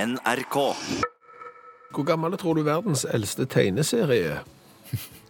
NRK. Hvor gammel tror du verdens eldste tegneserie er?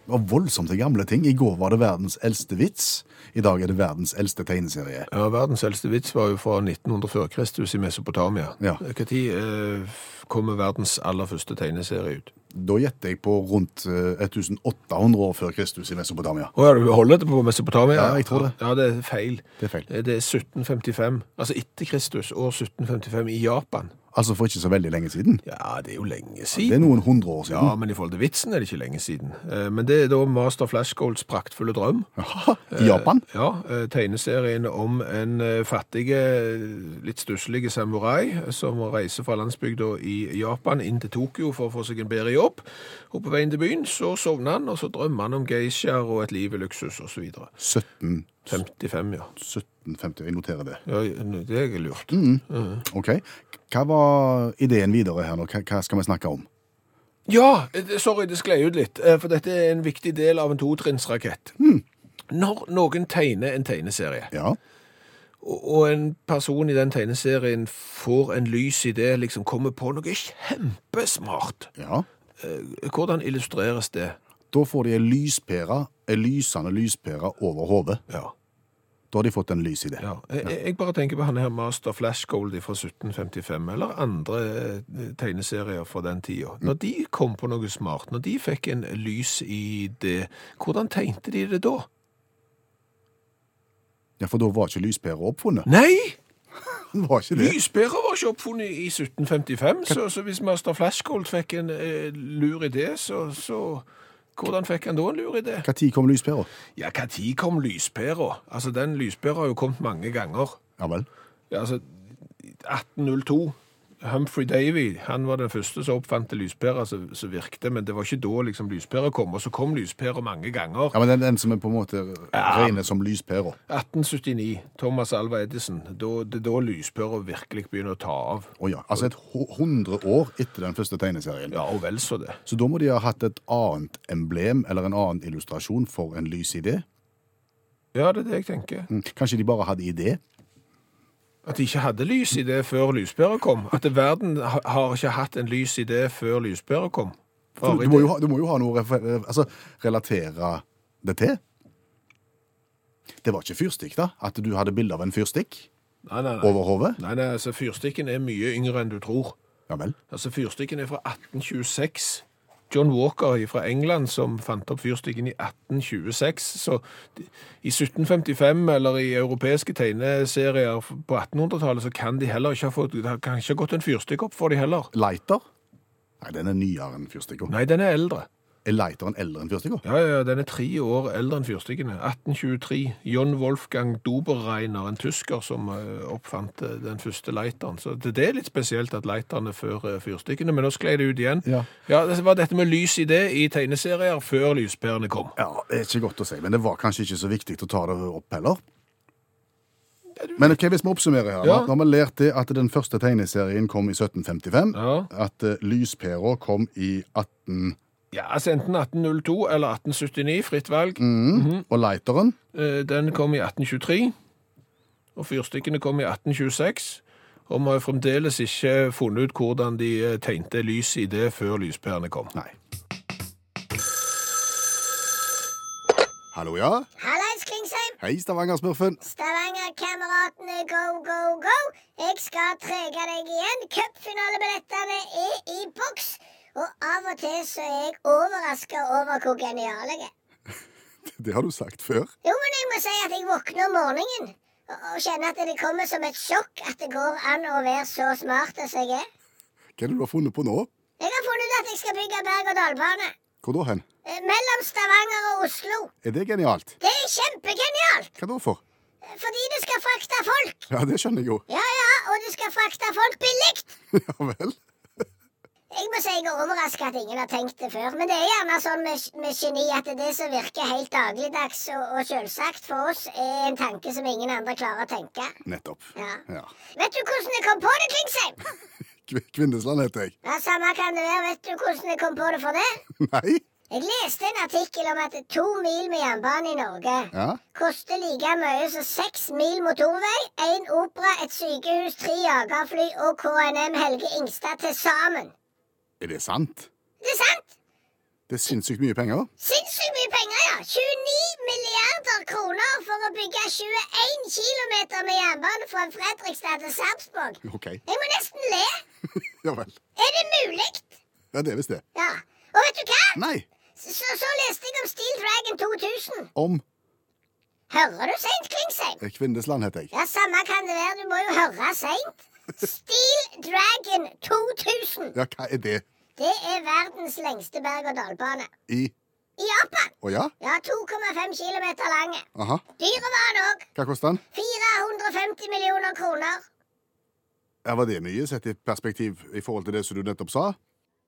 Det var voldsomt til gamle ting. I går var det verdens eldste vits. I dag er det verdens eldste tegneserie. Ja, verdens eldste vits var jo fra 1900 før Kristus i Mesopotamia. Ja. Hva tid eh, kommer verdens aller første tegneserie ut? Da gjetter jeg på rundt eh, 1800 år før Kristus i Mesopotamia. Å ja, du holder det på Mesopotamia? Ja, jeg tror det. Ja, det er feil. Det er feil. Det er 1755, altså etter Kristus, år 1755 i Japan. Altså for ikke så veldig lenge siden. Ja, det er jo lenge Det er siden. noen hundre år Ja, siden. men i forhold til vitsen er det ikke lenge siden. Eh, Men det er da Master Flashgolds praktfulle drøm. I Japan. Ja, eh, tegneserien om en eh, fattige, eh, litt stusslige samurai som reiser fra landsbygda i Japan inn til Tokyo for å få seg en bedre jobb. Og på veien til byen så sovner han, og så drømmer han om geishaer og et liv i luksus osv. 17, 55, ja. 1750. Jeg noterer det. ja. Det er lurt. Ok. Hva var ideen videre her nå? Hva- Hva skal vi snakke om? Ja, eh, sorry, det sklei ut litt, eh, for dette er en viktig del av en totrinnsrakett. Når noen tegner en tegneserie, Ja. og og en person i den tegneserien får en lys idé, liksom kommer på noe kjempesmart, ja. eh, hvordan illustreres det? Da får de en lyspære, en lysende lyspære over hodet. Ja. Da har de fått en lys i det. ja. Jeg, jeg- jeg bare tenker på han her Master Flashgold fra 1755, eller andre eh, tegneserier fra den tida. Når de kom på noe smart, når de fikk en lys i det, hvordan tegnte de det da? Ja, For da var ikke lyspæra oppfunnet. Nei! Den var ikke det. Lyspæra var ikke oppfunnet i 1755, så, så hvis Master Flashgold fikk en eh, lur idé, så, så Hvordan fikk han da en lur idé? Når kom lyspæra? Ja, når kom lyspæra? Altså, den lyspæra har jo kommet mange ganger. Ja vel. Ja, altså, 1802. Humphrey Davy han var den første som oppfant lyspæra som som virkte, men det var ikke da liksom lyspæra kom. Og så kom lyspæra mange ganger. Ja, men den, den som er på en måte regner som lyspæra. 1879. Thomas Alva Edison. Da, det er da lyspæra virkelig begynner å ta av. Å ja. Altså et hu- 100 år etter den første tegneserien. Ja, og vel så det. Så da må de ha hatt et annet emblem eller en annen illustrasjon for en lysidé. Ja, det er det jeg tenker. Mm, Kanskje de bare hadde idé? At de ikke hadde lys i det før lyspæra kom. At verden ha- har ikke hatt en lys i det før lyspæra kom. For Du, du, må jo ha, du må jo ha noe å refer- altså, relatere det til. Det var ikke fyrstikk, da? At du hadde bilde av en fyrstikk Nei, nei, nei. over hodet? Nei, nei, altså Fyrstikken er mye yngre enn du tror. Ja vel. Altså Fyrstikken er fra 1826. John Walker fra England som fant opp fyrstikken i 1826. Så de- i 1755 eller i europeiske tegneserier f- på 1800-tallet så kan de heller ikke ha fått Det har kanskje gått en fyrstikk opp for de heller. Lighter? Nei, den er nyere enn fyrstikka. Nei, den er eldre. Er lighteren eldre enn fyrstikka? Ja, ja, ja, den er tre år eldre enn fyrstikkene. 1823. John Wolfgang Doberreiner, en tysker som eh, oppfant eh, den første lighteren. Så det, det er litt spesielt at lighteren er før eh, fyrstikkene, men nå sklei det ut igjen. Ja. det var dette med lys i det i tegneserier før lyspærene kom. Ja, det er ikke godt å si, men det var kanskje ikke så viktig å ta det opp heller. Men ok, hvis vi oppsummerer her, Ja. da har vi lært det at den første tegneserien kom i 1755, Ja. at eh, lyspæra kom i 18... Ja, altså enten 1802 eller 1879, fritt valg. Mm. Mhm. Og lighteren, Eh, Den kom i 1823, og fyrstikkene kom i 1826. Og vi har fremdeles ikke funnet ut hvordan de eh, tegnte lys i det før lyspærene kom. nei. Hallo, ja? Hallais, Klingsheim! Hei, Stavanger-smurfen. Stavanger-kameratene, go, go, go! Jeg skal trege deg igjen. Cupfinalebillettene er i boks. Og av og til så er jeg overraska over hvor genial jeg er. Det har du sagt før. Jo, men jeg må si at jeg våkner om morgenen og og kjenner at det kommer som et sjokk at det går an å være så smart som jeg er. Hva er det du har funnet på nå? Jeg har funnet ut at jeg skal bygge berg-og-dal-bane Hvor da hen? eh, mellom Stavanger og Oslo. Er det genialt? Det er kjempegenialt! Hva da for? Fordi det skal frakte folk. Ja, det skjønner jeg jo. Ja, ja, og det skal frakte folk billig. ja vel. Jeg må si jeg er overraska at ingen har tenkt det før. Men det er gjerne sånn med, med geni at det som virker helt dagligdags og, og selvsagt for oss, er en tanke som ingen andre klarer å tenke. Nettopp. Ja. Ja. Vet du hvordan jeg kom på det, Klingsheim? Kv- Kvindesland heter jeg. Ja, Samme kan det være. Vet du hvordan jeg kom på det for det? Nei? Jeg leste en artikkel om at to mil med jernbane i Norge Ja. koster like mye som seks mil motorvei, én opera, et sykehus, tre jagerfly og KNM Helge Ingstad til sammen. Er det sant? Det er sant! Det er sinnssykt mye penger. Sinnssykt mye penger, ja! 29 milliarder kroner for å bygge 21 km med jernbane fra Fredrikstad til Sarpsborg. OK. Jeg må nesten le! Ja vel. Er det mulig? Ja, det er visst det. Ja. Og vet du hva? Nei. Så, så leste jeg om Steel Dragon 2000. Om Hører du seint, Klingsheim? Kvindesland, heter jeg. Ja, samme kan det være. Du må jo høre seint. Steel Dragon 2000. Ja, hva er det Det er verdens lengste berg-og-dal-bane. i I Japan. Å ja? Ja, 2,5 km lang. Aha. Dyre var den òg. Hva koster den? 450 millioner kroner. Ja, Var det mye sett i perspektiv i forhold til det som du nettopp sa?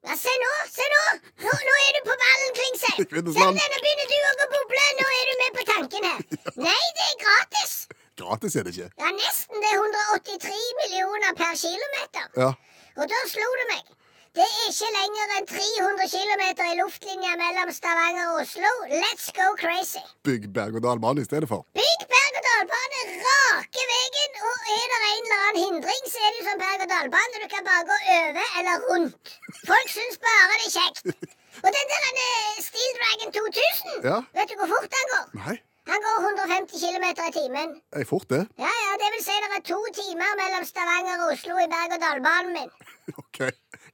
Ja, se nå, se nå! Nå, nå er du på ballen, Klingsheim. Se på Kvinnesland. det, nå begynner du òg å boble. Nå er du med på tanken her. Nei, det er gratis. Gratis er det ikke. Ja, nesten. Det er 183 millioner per kilometer. Ja. Og da slo det meg. Det er ikke lenger enn 300 km i luftlinja mellom Stavanger og Oslo. Let's go crazy. Bygg berg-og-dal-bane i stedet for. Bygg berg-og-dal-bane rake veien, og er det en eller annen hindring, så er det jo sånn berg-og-dal-bane. Du kan bare gå over eller rundt. Folk syns bare det er kjekt. Og den der han, eh, Steel Dragon 2000, Ja. vet du hvor fort han går? Nei, Han går 150 km i timen. jeg er fort det. Ja, ja, det vil si det er to timer mellom Stavanger og Oslo i berg-og-dal-banen min. OK.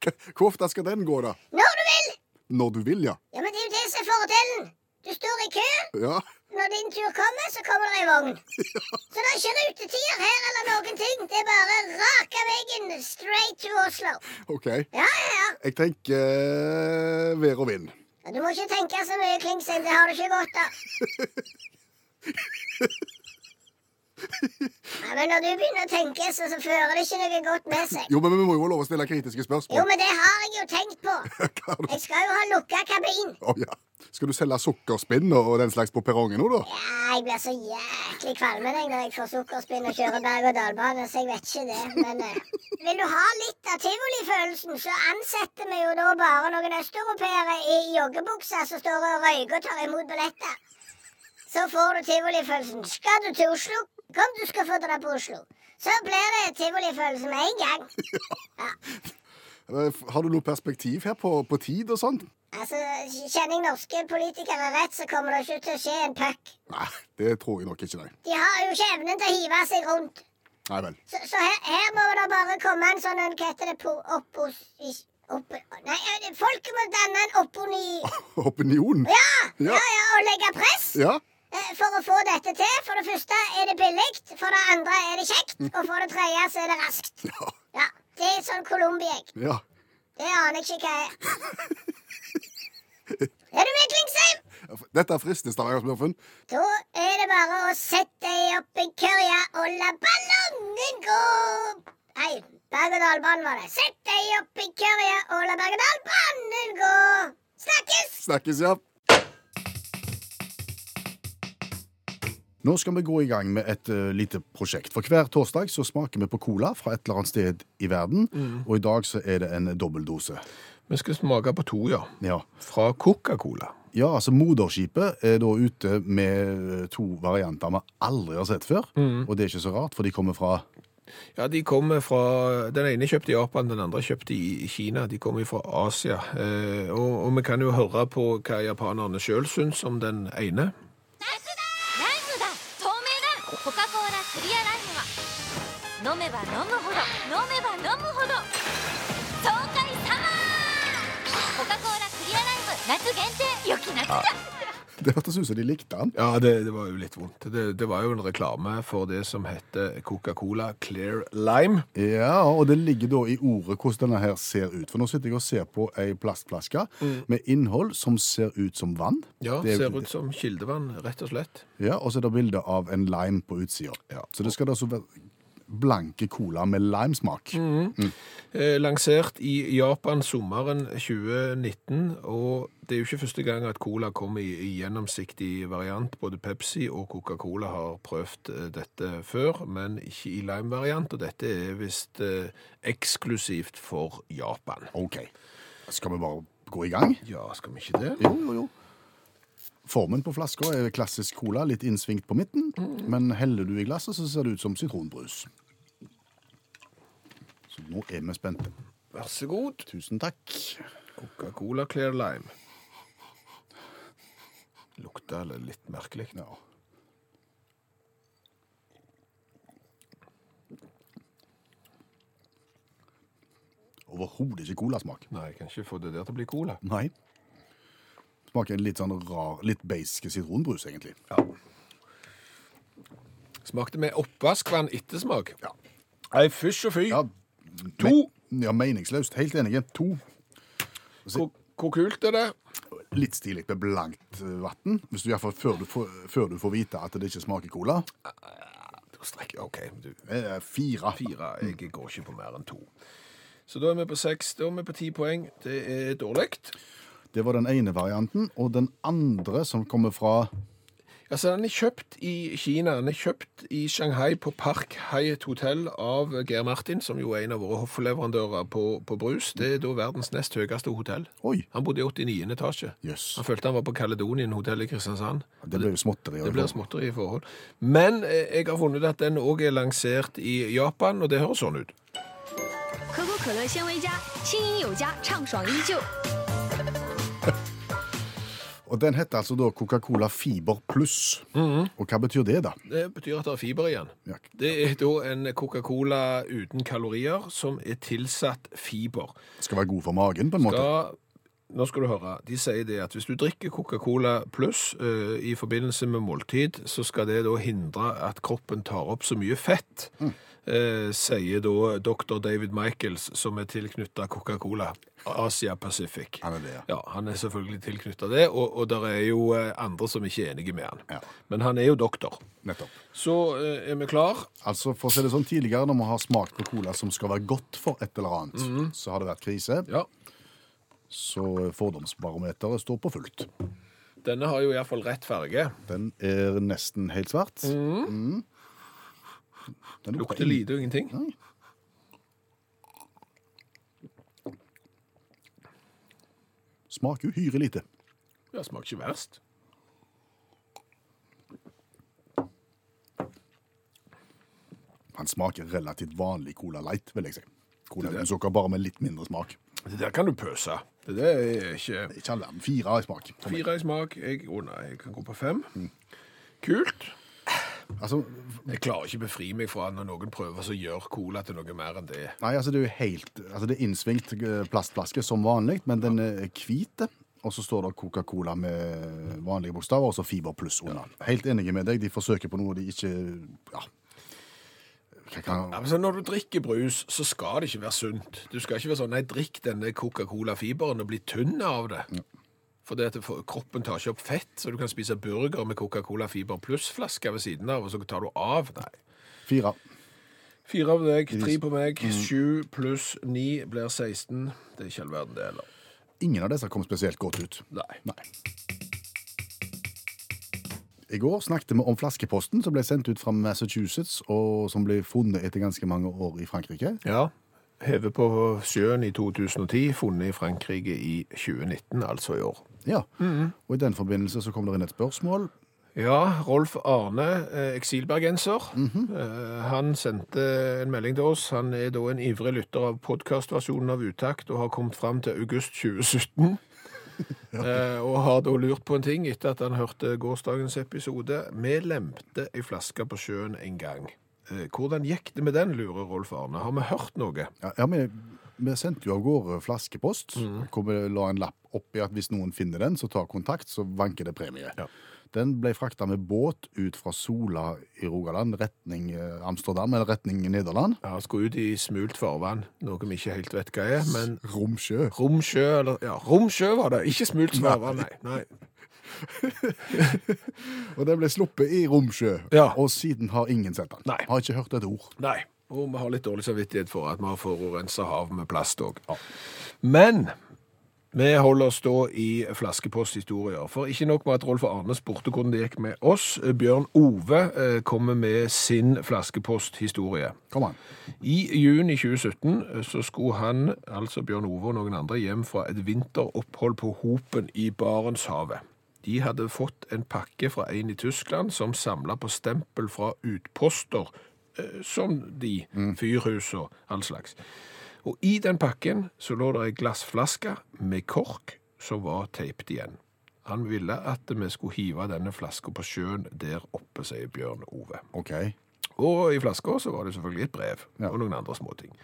Hva- Hvor ofte skal den gå, da? Når du vil! Når du vil, ja. Ja, men det er jo det som er fordelen. Du står i kø. Ja, Når din tur kommer, så kommer det ei vogn. Så det er ikke rutetider her eller noen ting. Det er bare raka veien straight to Oslo. OK. Jeg Ja, ja, ja. tenker eh, vær og vind. Ja, Du må ikke tenke så mye, Klingsheim. Det har du ikke godt av. Ja, men når du begynner å tenke, så, så fører det ikke noe godt med seg. Jo, men vi må jo ha lov å stille kritiske Jo, spørsmål. men det har jeg jo tenkt på. Hva har du- Jeg skal jo ha lukka kabin. Å ja. Skal du selge sukkerspinn og den slags på perrongen nå, da? Ja, jeg blir så jæklig kvalm jeg, når jeg får sukkerspinn og kjører berg-og-dal-bane, så jeg vet ikke det. Men eh, vil du ha litt av tivolifølelsen, så ansetter vi jo da bare noen østeuropeere i joggebukser som står og røyker og tar imot billetter. Så får du tivolifølelsen. Skal du til Oslo? Kom, du skal få dra på Oslo. Så blir det tivolifølelse med en gang. Eh, f- Har du noe perspektiv her på, på tid og sånt? Altså, Kjenner jeg norske politikere rett, så kommer det ikke til å skje en puck. Nei, det tror jeg nok ikke, nei. De har jo ikke evnen til å hive seg rundt. Nei vel. Så, så her, her må det bare komme en sånn en, Hva heter det? po- Oppos... is- Opp, nei, eh, folket må danne en opponi... Opinion? Ja! Ja. ja, ja, Og legge press Ja. eh, for å få dette til. For det første er det billig, for det andre er det kjekt, og for det tredje så er det raskt. Ja. Ja, Det er sånn Colombia-egg. ja. Det aner jeg ikke hva er. Er du med, Klingsheim? Dette frister Stavanger-smurfen. Da er det bare å sette deg opp i kørja og la ballongen gå. Nei, berg-og-dal-banen var det. Sett deg opp i kørja og la berg-og-dal-banen gå. Snakkes! Snakkes, ja. Nå skal vi gå i gang med et eh, lite prosjekt. For hver torsdag så smaker vi på cola fra et eller annet sted i verden. Og i dag så er det en dobbeldose. Vi skal smake på to, ja. Ja. Fra Coca-Cola. ja, altså moderskipet er da ute med eh, to varianter vi aldri har sett før. Og det er ikke så rart, for de kommer fra Ja, de kommer fra Den ene kjøpte i Japan, den andre kjøpte i Kina. De kommer fra Asia. Eh, og, og vi kan jo høre på hva japanerne sjøl syns om den ene. ライムだ透明だコカ・コーラクリアライムは飲めば飲むほど飲めば飲むほど爽快サマーコカ・コーラクリアライム夏限定良き夏だ Det hørtes ut som de likte den. Ja, det, det var jo litt vondt. Det, det var jo en reklame for det som heter Coca-Cola Clear Lime. Ja, og det ligger da i ordet hvordan denne her ser ut. For nå sitter jeg og ser på ei plastflaske med innhold som ser ut som vann. Ja, Det er- ser ut som kildevann, rett og slett. Ja, og så er det bilde av en lime på utsida. Ja. Så det skal altså være blanke cola med limesmak. Eh, lansert i Japan sommeren 2019, og det er jo ikke første gang at cola kommer i, i gjennomsiktig variant. Både Pepsi og Coca-Cola har prøvd eh, dette før, men ikke i lime-variant, og dette er visst eh, eksklusivt for Japan. OK. Skal vi bare gå i gang? Ja, skal vi ikke det? Jo, jo, jo. Formen på flaska er klassisk cola, litt innsvingt på midten. Men heller du i glasset, så ser det ut som sitronbrus. Så nå er vi spente. Vær så god. Tusen takk. Coca-Cola Clear Lime. Lukta li- litt merkelig. Ja. Overhodet ikke colasmak. Nei, jeg kan ikke få det der til å bli cola. Nei. Smaker en litt sånn rar, litt beiske sitronbrus, egentlig. Ja. Smakte med oppvaskvann ettersmak. Ja. Nei, fysj og fy. Ja, To. me- ja, meningsløst. Helt enige. To. Hvor, hvor kult er det? Litt stilig med blankt eh, vann. Før, du får- før du får vite at det ikke smaker cola. Da strekker jeg- OK, du. Mm. Eh, Fire. Fire. Jeg går ikke på mer enn to. Så da er vi på seks. Da er vi på ti poeng. Det er dårlig. Det var den ene varianten. Og den andre, som kommer fra Altså, den er kjøpt i Kina. Den er kjøpt i Shanghai på Park Hyatt Hotel av Geir Martin, som jo er en av våre hoffleverandører på, på brus. Det er da verdens nest høyeste hotell. Oi. Han bodde i 89. etasje. Jøss. Han følte han var på Caledonien hotell i Kristiansand. Det ble jo småtteri. Det blir småtteri i forhold. Men eh, jeg har funnet at den òg er lansert i Japan, og det høres sånn ut. 可口可乐纤维加，轻盈有加，畅爽依旧。 Og den heter altså da Coca-Cola Fiber Pluss. Og hva betyr det, da? Det betyr at det er fiber igjen. Ja. Det er da en Coca-Cola uten kalorier som er tilsatt fiber. Skal være god for magen, på en måte? Da, nå skal du høre. De sier det at hvis du drikker Coca-Cola pluss eh, i forbindelse med måltid, så skal det da hindre at kroppen tar opp så mye fett, Mm. eh, sier da dr. David Michaels, som er tilknyttet Coca-Cola Asia Pacific. Han er det, ja. Ja, han er selvfølgelig tilknyttet det, og, og der er jo eh, andre som ikke er enige med han. Ja. Men han er jo doktor. Nettopp. Så eh, er vi klar. Altså, for å si det sånn, Tidligere når vi har smakt på cola som skal være godt for et eller annet, så har det vært krise. Ja. Så fordomsbarometeret står på fullt. Denne har jo i hvert fall rett farge. Den er nesten helt svart. Mhm. Den Lukter lite og ingenting. Smaker uhyre lite. Ja, smaker ikke verst. Han smaker relativt vanlig Cola Light, vil jeg si. Cola uten sukker, bare med litt mindre smak. Det der kan du pøse. Det der er ikke Ikke all verden. Fire i smak. for meg. Fire i smak. Jeg, å nei, jeg kan gå på fem. Kult. Altså, Jeg klarer ikke å befri meg fra når noen prøver å gjøre cola til noe mer enn det. nei, altså det er jo helt altså Det er innsvingt eh, plastflaske som vanlig, men den er hvit. Og så står det Coca-Cola med vanlige bokstaver, og så Fiber pluss under. Helt enig med deg. De forsøker på noe de ikke Ja. Hva kan- Ja, men så når du drikker brus, så skal det ikke være sunt. Du skal ikke være sånn 'nei, drikk denne Coca-Cola-fiberen og bli tynn av det'. Fordi at det for kroppen tar ikke opp fett, så du kan spise burger med Coca-Cola-fiber pluss-flaske ved siden av, og så tar du av. Nei. Fire. Fire av deg, tre på meg. Sju pluss ni blir 16. Det er ikke all verden, det heller. Ingen av disse kom spesielt godt ut. Nei. I går snakket vi om flaskeposten som ble sendt ut fra Massachusetts, og som ble funnet etter ganske mange år i Frankrike. Ja. Hevet på sjøen i 2010, funnet i Frankrike i 2019, altså i år. Ja. Og i den forbindelse så kom det inn et spørsmål. Ja, Rolf Arne, eh, eksilbergenser, eh, han sendte en melding til oss. Han er da en ivrig lytter av podcastversjonen av Utakt og har kommet fram til august 2017. Eh, og har da lurt på en ting etter at han hørte gårsdagens episode. Vi lemte ei flaske på sjøen en gang. Eh, hvordan gikk det med den, lurer Rolf Arne. Har vi hørt noe? Ja, ja men vi sendte jo av gårde flaskepost, Mm. hvor vi la en lapp oppi at hvis noen finner den, så tar kontakt, så vanker det premie. Ja. Den ble frakta med båt ut fra Sola i Rogaland, retning eh, Amsterdam, eller retning Nederland. Ja, han skulle ut i smult farvann, noe vi ikke helt vet hva er, men Romsjø. Romsjø, eller Ja, Romsjø var det, ikke smult farvann, nei. nei. Og den ble sluppet i Romsjø, Ja. og siden har ingen sett den. Nei. Har ikke hørt et ord. Nei. Og vi har litt dårlig samvittighet for at vi har forurensa hav med plast òg. Men Vi holder oss da i flaskeposthistorier. For ikke nok med at Rolf Arne spurte hvordan det gikk med oss. Bjørn Ove eh, kommer med sin flaskeposthistorie. Kom an. I juni 2017 så skulle han, altså Bjørn Ove og noen andre, hjem fra et vinteropphold på Hopen i Barentshavet. De hadde fått en pakke fra en i Tyskland som samla på stempel fra utposter, eh, som de, fyrhus og all slags. Og i den pakken så lå det ei glassflaske med kork som var teipet igjen. Han ville at vi skulle hive denne flaska på sjøen der oppe, sier Bjørn Ove. OK. Og i flasker så var det selvfølgelig et brev Ja. og noen andre småting.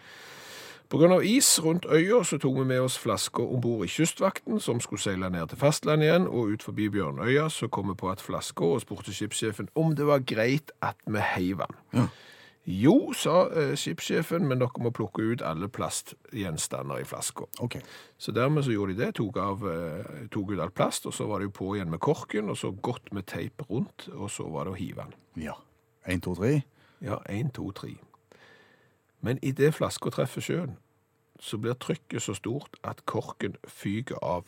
På grunn av is rundt øya så tok vi med oss flasker om bord i kystvakten, som skulle seile ned til fastlandet igjen, og ut forbi Bjørnøya så kom vi på at flasker og spurte skipssjefen om det var greit at vi heiv den. Jo, sa eh, skipssjefen, men dere må plukke ut alle plastgjenstander i flaska. ok. Så dermed så gjorde de det, tok, av, eh, tok ut all plast, og så var det jo på igjen med korken, og så godt med teip rundt, og så var det å hive den. Ja. Én, to, tre. Ja, én, to, tre. Men idet flaska treffer sjøen, så blir trykket så stort at korken fyker av.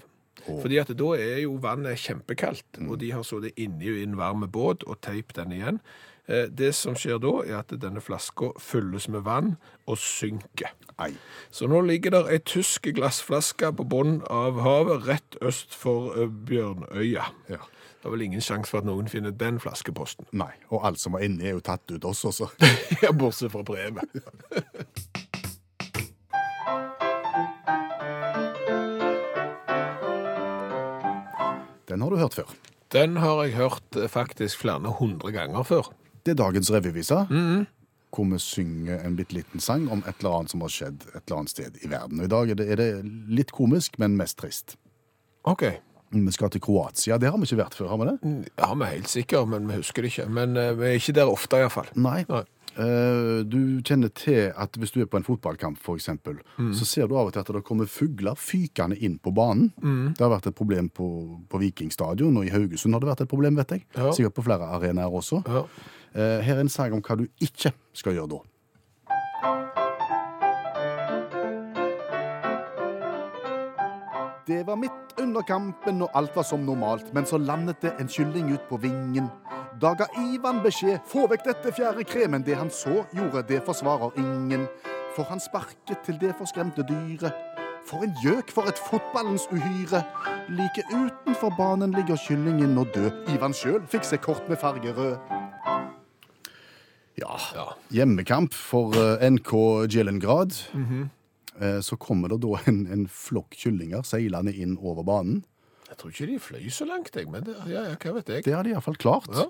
Fordi at da er jo vannet kjempekaldt, og de har sittet inni i en varm båt og teipet den igjen. Eh, Det som skjer da, er at denne flaska fylles med vann og synker. Ei. Så nå ligger der ei tysk glassflaske på bunnen av havet rett øst for eh, Bjørnøya. Ja. Det er vel ingen sjanse for at noen finner den flaskeposten. Nei. Og alt som var inni, er jo tatt ut også, så. Ja, bortsett fra brevet. Den har du hørt før. Den har jeg hørt eh, faktisk flere hundre ganger før. Det er dagens revyvise. Mm-hmm. Hvor vi synger en bitte liten sang om et eller annet som har skjedd et eller annet sted i verden. Og I dag er det, er det litt komisk, men mest trist. Ok. Vi skal til Kroatia. Det har vi ikke vært før, har vi det? Ja, vi er helt sikre, men vi husker det ikke. Men eh, vi er ikke der ofte iallfall. Nei. Nei. Eh, du kjenner til at hvis du er på en fotballkamp, for eksempel, Mm. så ser du av og til at det kommer fugler fykende inn på banen. Mm. Det har vært et problem på, på Vikingstadion, og i Haugesund har det vært et problem, vet jeg. Ja. Sikkert på flere arenaer også. Ja. Eh, her er en sang om hva du ikke skal gjøre da. Det var midt under kampen, og alt var som normalt, men så landet det en kylling ut på vingen. Da ga Ivan beskjed 'få vekk dette fjerde kremen'. Det han så gjorde, det forsvarer ingen. For han sparket til det forskremte dyret. For en gjøk for et fotballens uhyre. Like utenfor banen ligger kyllingen og død. Ivan sjøl fikk seg kort med farge rød. Ja. Ja. Hjemmekamp for eh, NK Gjellengrad. Mhm. Eh, Så kommer det da en, en flokk kyllinger seilende inn over banen. Jeg tror ikke de fløy så langt, jeg, men det, ja, ja, hva vet jeg. Det har de iallfall klart. Ja.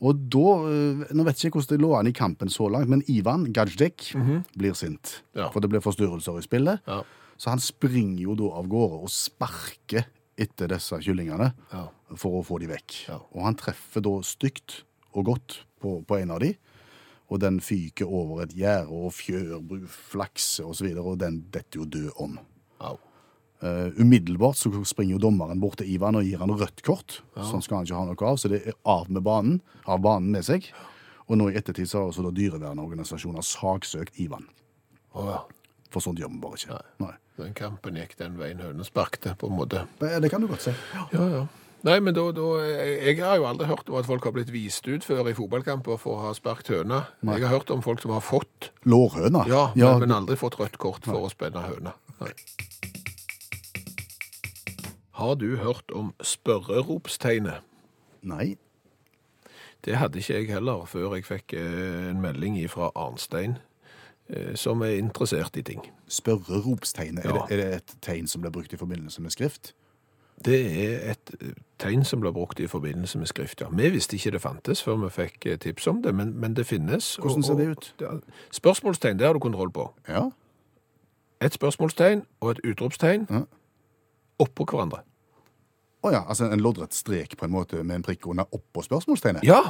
Og da eh, Nå vet jeg ikke hvordan det lå an i kampen så langt, men Ivan Gajdek blir sint. Mhm. Ja. For det blir forstyrrelser i spillet. Ja. Så han springer jo da av gårde og sparker etter disse kyllingene Ja. for å få de vekk. Ja. Og han treffer da stygt og godt på, på en av de. Og den fyker over et gjerde og fjørbu, flakse osv., og, så videre, og den detter jo død om. Au. Eh, umiddelbart så springer jo dommeren bort til Ivan og gir han rødt kort. Sånn skal han ikke ha noe av, så det er av med banen, av banen med seg. Og nå i ettertid så har også da dyrevernorganisasjoner saksøkt Ivan. Å, ja. For sånt gjør vi bare ikke. Nei. Den kampen gikk den veien hønen sparkte, på en måte. Men eh, Det kan du godt si. Ja, ja. Nei, men da, da Jeg har jo aldri hørt om at folk har blitt vist ut før i fotballkamper for å ha sparket høne. Jeg har hørt om folk som har fått, Lårhøna. ja, men, men aldri fått rødt kort for å spenne høne. Nei. Har du hørt om spørreropstegnet? Nei. Det hadde ikke jeg heller før jeg fikk eh, en melding fra Arnstein, eh, som er interessert i ting. Spørreropstegnet. Ja. Er, det, er det et tegn som blir brukt i forbindelse med skrift? Det er et eh, tegn som ble brukt i forbindelse med skrift. Ja. Vi visste ikke det fantes før vi fikk eh, tips om det, men, men det finnes. Hvordan ser det ut? og- ja, Spørsmålstegn, det har du kontroll på. Ja. Et spørsmålstegn og et utropstegn Ja. oppå hverandre. Å ja, altså en loddrett strek på en måte med en prikk under oppå spørsmålstegnet? Ja,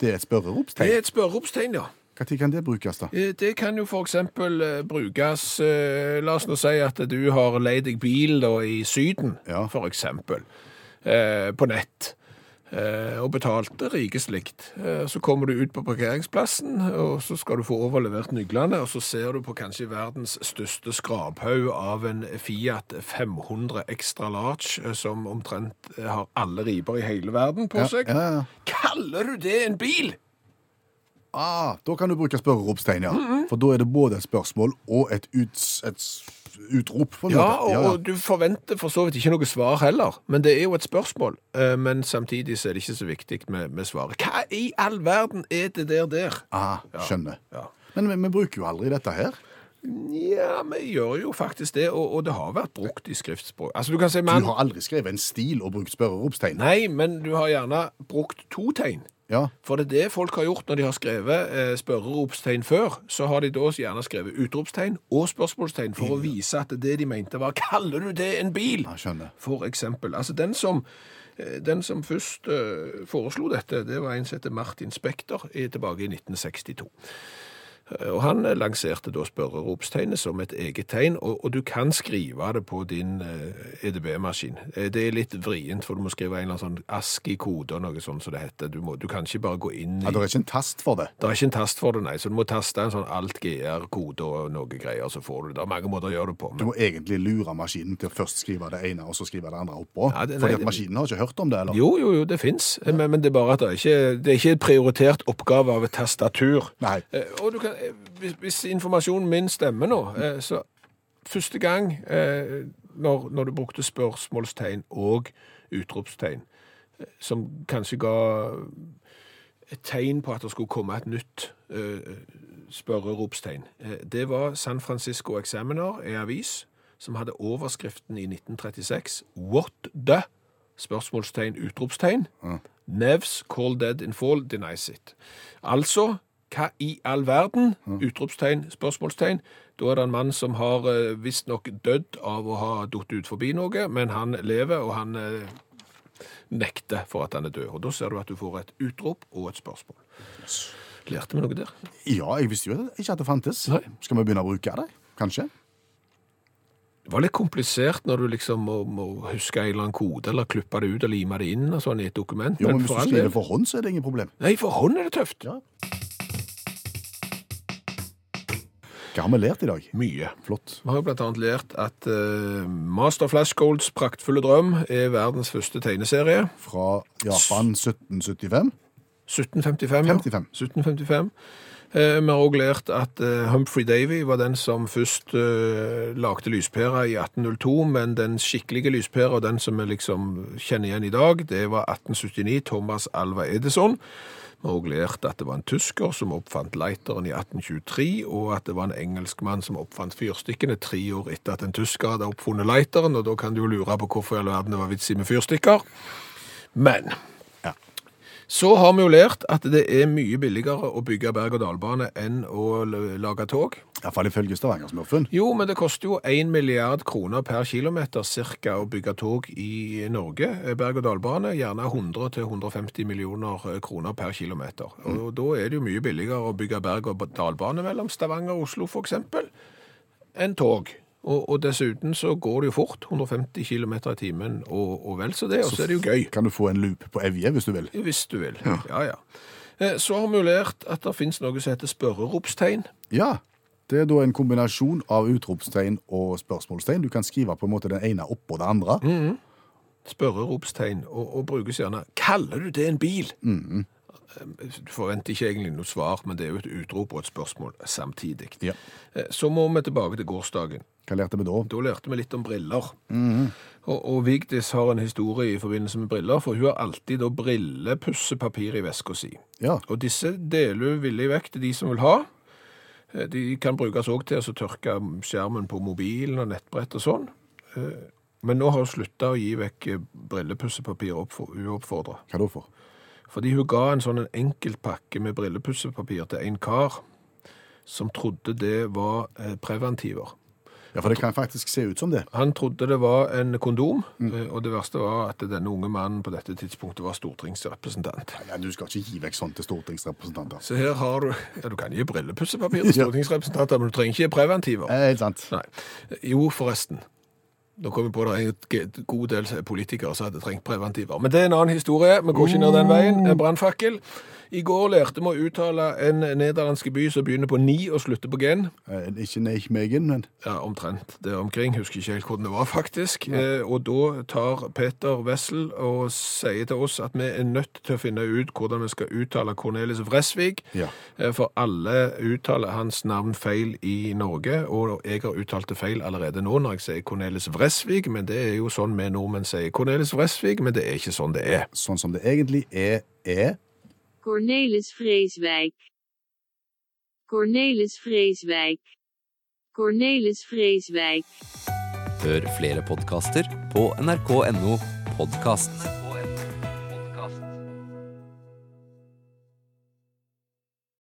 Det det er et er spørreropstegn? et spørreropstegn, ja. Når kan det brukes, da? Eh, Det kan jo for eksempel eh, brukes, eh, la oss nå si at du har leid deg bil da, i syden, Ja. for eksempel, eh, på nett. eh, og betalte rikest likt. Eh, Så kommer du ut på parkeringsplassen, og så skal du få overlevert nøklene, og så ser du på kanskje verdens største skraphaug av en Fiat 500 Extra Large, eh, som omtrent eh, har alle riper i hele verden på Ja, seg. ja, ja. Kaller du det en bil? Ah, da kan du bruke spørreropstegn, ja. For da er det både et spørsmål og et, uts, et s- utrop. På en Ja, måte. og og du forventer for så vidt ikke noe svar heller, men det er jo et spørsmål. Eh, Men samtidig så er det ikke så viktig med, med svaret. Hva i all verden er det der der? Ah, skjønner. Ja. Men vi, vi bruker jo aldri dette her. Ja, vi gjør jo faktisk det, og, og det har vært brukt i skriftspråk. Altså, du kan si Du man... har aldri skrevet en stil og brukt spørreropstegn. Nei, men du har gjerne brukt to tegn. Ja. For det er det folk har gjort når de har skrevet eh, spørreropstegn før. Så har de da også gjerne skrevet utropstegn og spørsmålstegn for å vise at det de mente var Kaller du det en bil? Ja, skjønner. For eksempel. Altså, den som, eh, den som først eh, foreslo dette, det var en som heter Martin Spekter i, tilbake i 1962. Eh, Og han eh, lanserte da spørreropstegnet som et eget tegn, og, og du kan skrive det på din eh, EDB-maskin. Eh, Det er litt vrient, for du må skrive en eller annen sånn ASCII-kode og noe sånt som det heter. Du, må, du kan ikke bare gå inn Ja, i det er ikke en tast for det. det er ikke en tast for det, nei, så du må taste en sånn alt-GR-kode og noe greier, så får du det. Det er mange måter å gjøre det på. Men Du må egentlig lure maskinen til å først skrive det ene, og så skrive det andre oppå. Ja, det- Fordi nei, at maskinen har ikke hørt om det, eller? Jo, jo, jo, det fins, men, men det er bare at det er ikke det er ikke en prioritert oppgave av et tastatur. Nei. Eh, Og du kan, eh, hvis, hvis informasjonen min stemmer nå, eh, så første gang eh, når, når du brukte spørsmålstegn og utropstegn, eh, som kanskje ga et tegn på at det skulle komme et nytt eh, spørreropstegn, eh, det var San Francisco Examiner, en avis, som hadde overskriften i 1936 What the? spørsmålstegn, utropstegn. Nevs, call dead in fall, denies it. Altså, hva i all verden? Utropstegn, spørsmålstegn. Da er det en mann som har eh, visstnok dødd av å ha datt ut forbi noe, men han lever, og han eh, nekter for at han er død. Og da ser du at du får et utrop og et spørsmål. Lærte vi noe der? Ja, jeg visste jo ikke at det fantes. Nei. Skal vi begynne å bruke det? Kanskje? Det var litt komplisert når du liksom må, må huske en eller annen kode, eller klippe det ut og lime det inn og sånn i et dokument. Jo, men hvis for du all skriver del- for hånd, så er det ingen problem. Nei, for hånd er det tøft. Ja. Hva har vi lært i dag? Mye. Flott. Vi har jo blant annet lært at eh, Master Flash Golds praktfulle drøm er verdens første tegneserie. Fra Japan 1775. 1755. ja. 55. 1755. Eh, vi har òg lært at eh, Humphrey Davy var den som først eh, lagde lyspæra i 1802, men den skikkelige lyspæra, den som vi liksom kjenner igjen i dag, det var 1879, Thomas Alva Edison. Vi har òg lært at det var en tysker som oppfant lighteren i 1823, og at det var en engelskmann som oppfant fyrstikkene tre år etter at en tysker hadde oppfunnet lighteren, og da kan du jo lure på hvorfor i all verden det var vits i med fyrstikker. Men så har vi jo lært at det er mye billigere å bygge berg-og-dal-bane enn å l- lage tog. Iallfall ifølge Stavanger-smurfen. Jo, men det koster jo 1 milliard kroner per kilometer cirka å bygge tog i Norge. eh, Berg-og-dal-bane gjerne 100-150 millioner eh, kroner per kilometer. Og da er det jo mye billigere å bygge berg-og-dal-bane mellom Stavanger og Oslo for eksempel, enn tog. Og, og dessuten så går det jo fort, 150 kilometer i timen og, og vel så det, og så er det jo gøy. Kan du få en loop på Evje, hvis du vil? Hvis du vil. Ja, ja. Eh, Så har vi jo lært at det finnes noe som heter spørreropstegn. Ja. Det er da en kombinasjon av utropstegn og spørsmålstegn. Du kan skrive på en måte den ene oppå det andre. Mm. Spørreropstegn, og, og brukes gjerne. Kaller du det en bil? Eh, Du forventer ikke egentlig noe svar, men det er jo et utrop og et spørsmål samtidig. Ja. Eh, Så må vi tilbake til gårsdagen. Hva lærte vi da? Da lærte vi litt om briller. Og, og Vigdis har en historie i forbindelse med briller, for hun har alltid da brillepussepapir i veska si. Ja. Og disse deler hun villig vekk til de som vil ha. Eh, De kan brukes òg til å tørke skjermen på mobilen og nettbrett og sånn. Eh, Men nå har hun slutta å gi vekk eh, brillepussepapir oppfor- uoppfordra. Hva da for? Fordi hun ga en sånn en enkeltpakke med brillepussepapir til en kar som trodde det var eh, preventiver. Ja, for det kan faktisk se ut som det. Han trodde det var en kondom, eh, og det verste var at denne unge mannen på dette tidspunktet var stortingsrepresentant. Ja, Du skal ikke gi vekk sånt til stortingsrepresentanter. Så her har du Ja, du kan gi brillepussepapir til Ja. stortingsrepresentanter, men du trenger ikke preventiver. Eh, Helt sant. Nei. Jo, forresten. Nå kom jeg på det er en g- god del politikere som hadde trengt preventiver. Men det er en annen historie. Vi går ikke ned den veien. Eh, Brannfakkel. I går lærte vi å uttale en nederlandsk by som begynner på ni og slutter på gen. Eh, Ikke Neichmegen, men Ja, omtrent der omkring. Husker ikke helt hvordan det var, faktisk. Eh, og da tar Peter Wessel og sier til oss at vi er nødt til å finne ut hvordan vi skal uttale Cornelis Vresvig. Ja. Eh, for alle uttaler hans navn feil i Norge, og jeg har uttalt det feil allerede nå når jeg sier Cornelis Vresvig, men det er jo sånn vi nordmenn sier Cornelis Vresvig, men det er ikke sånn det er. sånn som det egentlig er, er Cornelis Vreeswijk. Cornelis Vreeswijk. Cornelis Vreeswijk. Hør flere podkaster på nrk.no podkast.